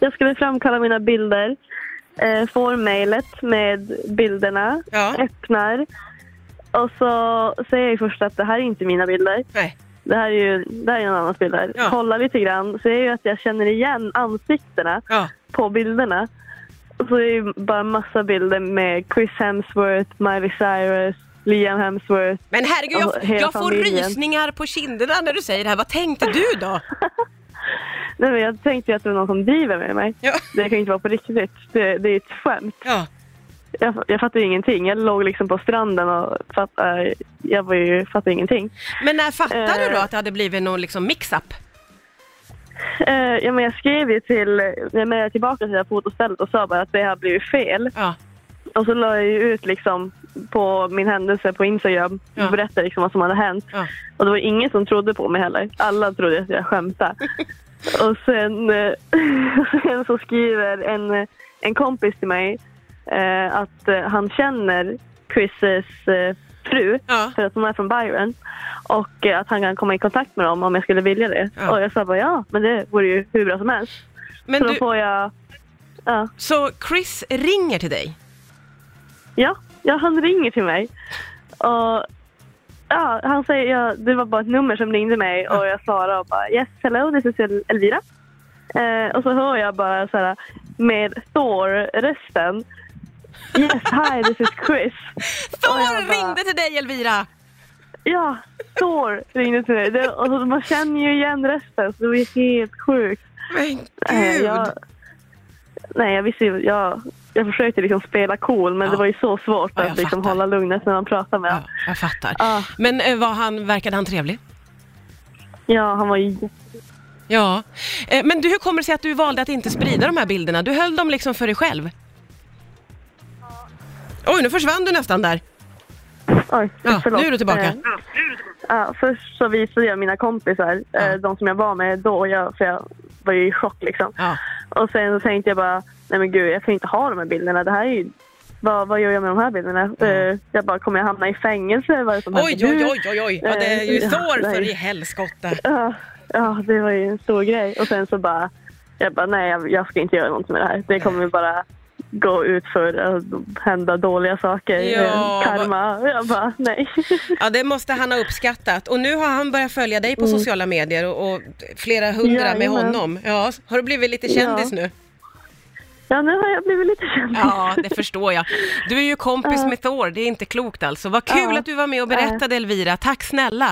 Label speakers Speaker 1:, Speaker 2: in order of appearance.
Speaker 1: Jag skulle framkalla mina bilder, eh, får mejlet med bilderna,
Speaker 2: Ja.
Speaker 1: öppnar och så säger jag ju först att det här är inte mina bilder.
Speaker 2: Nej.
Speaker 1: Det här är ju det här är någon annans bilder.
Speaker 2: Ja.
Speaker 1: Kollar lite grann ser jag ju att jag känner igen ansiktena
Speaker 2: Ja.
Speaker 1: på bilderna. Och så är det ju bara massa bilder med Chris Hemsworth, Miley Cyrus, Liam Hemsworth.
Speaker 2: Men herregud,
Speaker 1: Och
Speaker 2: jag,
Speaker 1: Alltså, hela
Speaker 2: jag får
Speaker 1: familjen.
Speaker 2: rysningar på kinderna när du säger det här. Vad tänkte du då?
Speaker 1: Nej, men jag tänkte ju att det var någon som driver med mig.
Speaker 2: Ja.
Speaker 1: Det kan ju inte vara på riktigt. Det, det är ett skämt.
Speaker 2: Ja.
Speaker 1: Jag, jag fattade ju ingenting. Jag låg liksom på stranden och fatt, eh, jag var ju, fattade ingenting.
Speaker 2: Men när fattade du då
Speaker 1: Eh.
Speaker 2: att det hade blivit någon liksom mix-up?
Speaker 1: Eh, ja, men jag skrev ju till, jag mejlade tillbaka till det här fotostället och sa bara att det här blev fel.
Speaker 2: Ja.
Speaker 1: Och så la jag ju ut liksom på min händelse på Instagram
Speaker 2: Ja.
Speaker 1: och berättade liksom vad som hade hänt.
Speaker 2: Ja.
Speaker 1: Och det var ingen som trodde på mig heller. Alla trodde att jag skämtade. och sen, eh, sen så skriver en, en kompis till mig eh, att eh, han känner Chris eh, fru
Speaker 2: Ja.
Speaker 1: för att hon är från Byron och eh, att han kan komma i kontakt med dem om jag skulle vilja det.
Speaker 2: Ja.
Speaker 1: Och jag sa bara ja, men det vore ju hur bra som helst.
Speaker 2: Men
Speaker 1: så då
Speaker 2: du,
Speaker 1: får jag... Ja.
Speaker 2: så Chris ringer till dig?
Speaker 1: Ja, ja han ringer till mig. Och, ja, han säger, ja, det var bara ett nummer som ringde mig och jag svarade och bara yes, hello, this is El- Elvira. Eh, och så hör jag bara så här med Thor-rösten. Yes, hi, this is Chris. Och
Speaker 2: Thor
Speaker 1: jag bara-
Speaker 2: ringde till dig Elvira!
Speaker 1: Ja, Thor ringde till mig. Det, och så, man känner ju igen rösten, så det var ju helt sjukt.
Speaker 2: Men gud!
Speaker 1: Eh, jag, nej, jag visste ju, jag, jag försökte liksom spela cool, men
Speaker 2: Ja.
Speaker 1: det var ju så svårt
Speaker 2: Ja, jag
Speaker 1: att liksom
Speaker 2: fattar.
Speaker 1: hålla lugnet när man pratar med
Speaker 2: Ja, jag fattar.
Speaker 1: Ja.
Speaker 2: Men eh, var han, verkade han trevlig?
Speaker 1: Ja, han var ju jätte-
Speaker 2: Ja. Eh, Men du, hur kommer det sig att du valde att inte sprida de här bilderna? Du höll dem liksom för dig själv? Oj, nu försvann du nästan där.
Speaker 1: Oj,
Speaker 2: Ja,
Speaker 1: förlåt.
Speaker 2: nu är du tillbaka.
Speaker 1: Eh, ja, först så visade jag mina kompisar, eh,
Speaker 2: Ja.
Speaker 1: de som jag var med då, jag, för jag var ju i chock liksom.
Speaker 2: Ja.
Speaker 1: Och sen så tänkte jag bara, nej men gud, jag kan ju inte ha de här bilderna. Det här är ju, vad, vad gör jag med de här bilderna?
Speaker 2: Ja.
Speaker 1: Eh, jag bara, kommer jag hamna i fängelse? Vad är det som
Speaker 2: Oj,
Speaker 1: händer nu?
Speaker 2: oj, oj, oj, oj. Ja, det är ju
Speaker 1: Eh,
Speaker 2: Thor
Speaker 1: nej.
Speaker 2: för i helskotta.
Speaker 1: Ja, ja, det var ju en stor grej. Och sen så bara, jag bara, nej jag, jag ska inte göra något med det här. Det kommer bara gå ut för att hända dåliga saker.
Speaker 2: Ja,
Speaker 1: eh, Karma. Jag bara, nej.
Speaker 2: Ja, det måste han ha uppskattat. Och nu har han börjat följa dig på sociala medier och, och flera hundra med
Speaker 1: Jajamän.
Speaker 2: honom. Ja, har du blivit lite kändis
Speaker 1: Ja.
Speaker 2: nu?
Speaker 1: ja, nu har jag blivit lite känd.
Speaker 2: Ja, det förstår jag. Du är ju kompis med Thor, det är inte klokt alltså. Vad kul
Speaker 1: Ja.
Speaker 2: att du var med och berättade Elvira. Tack snälla.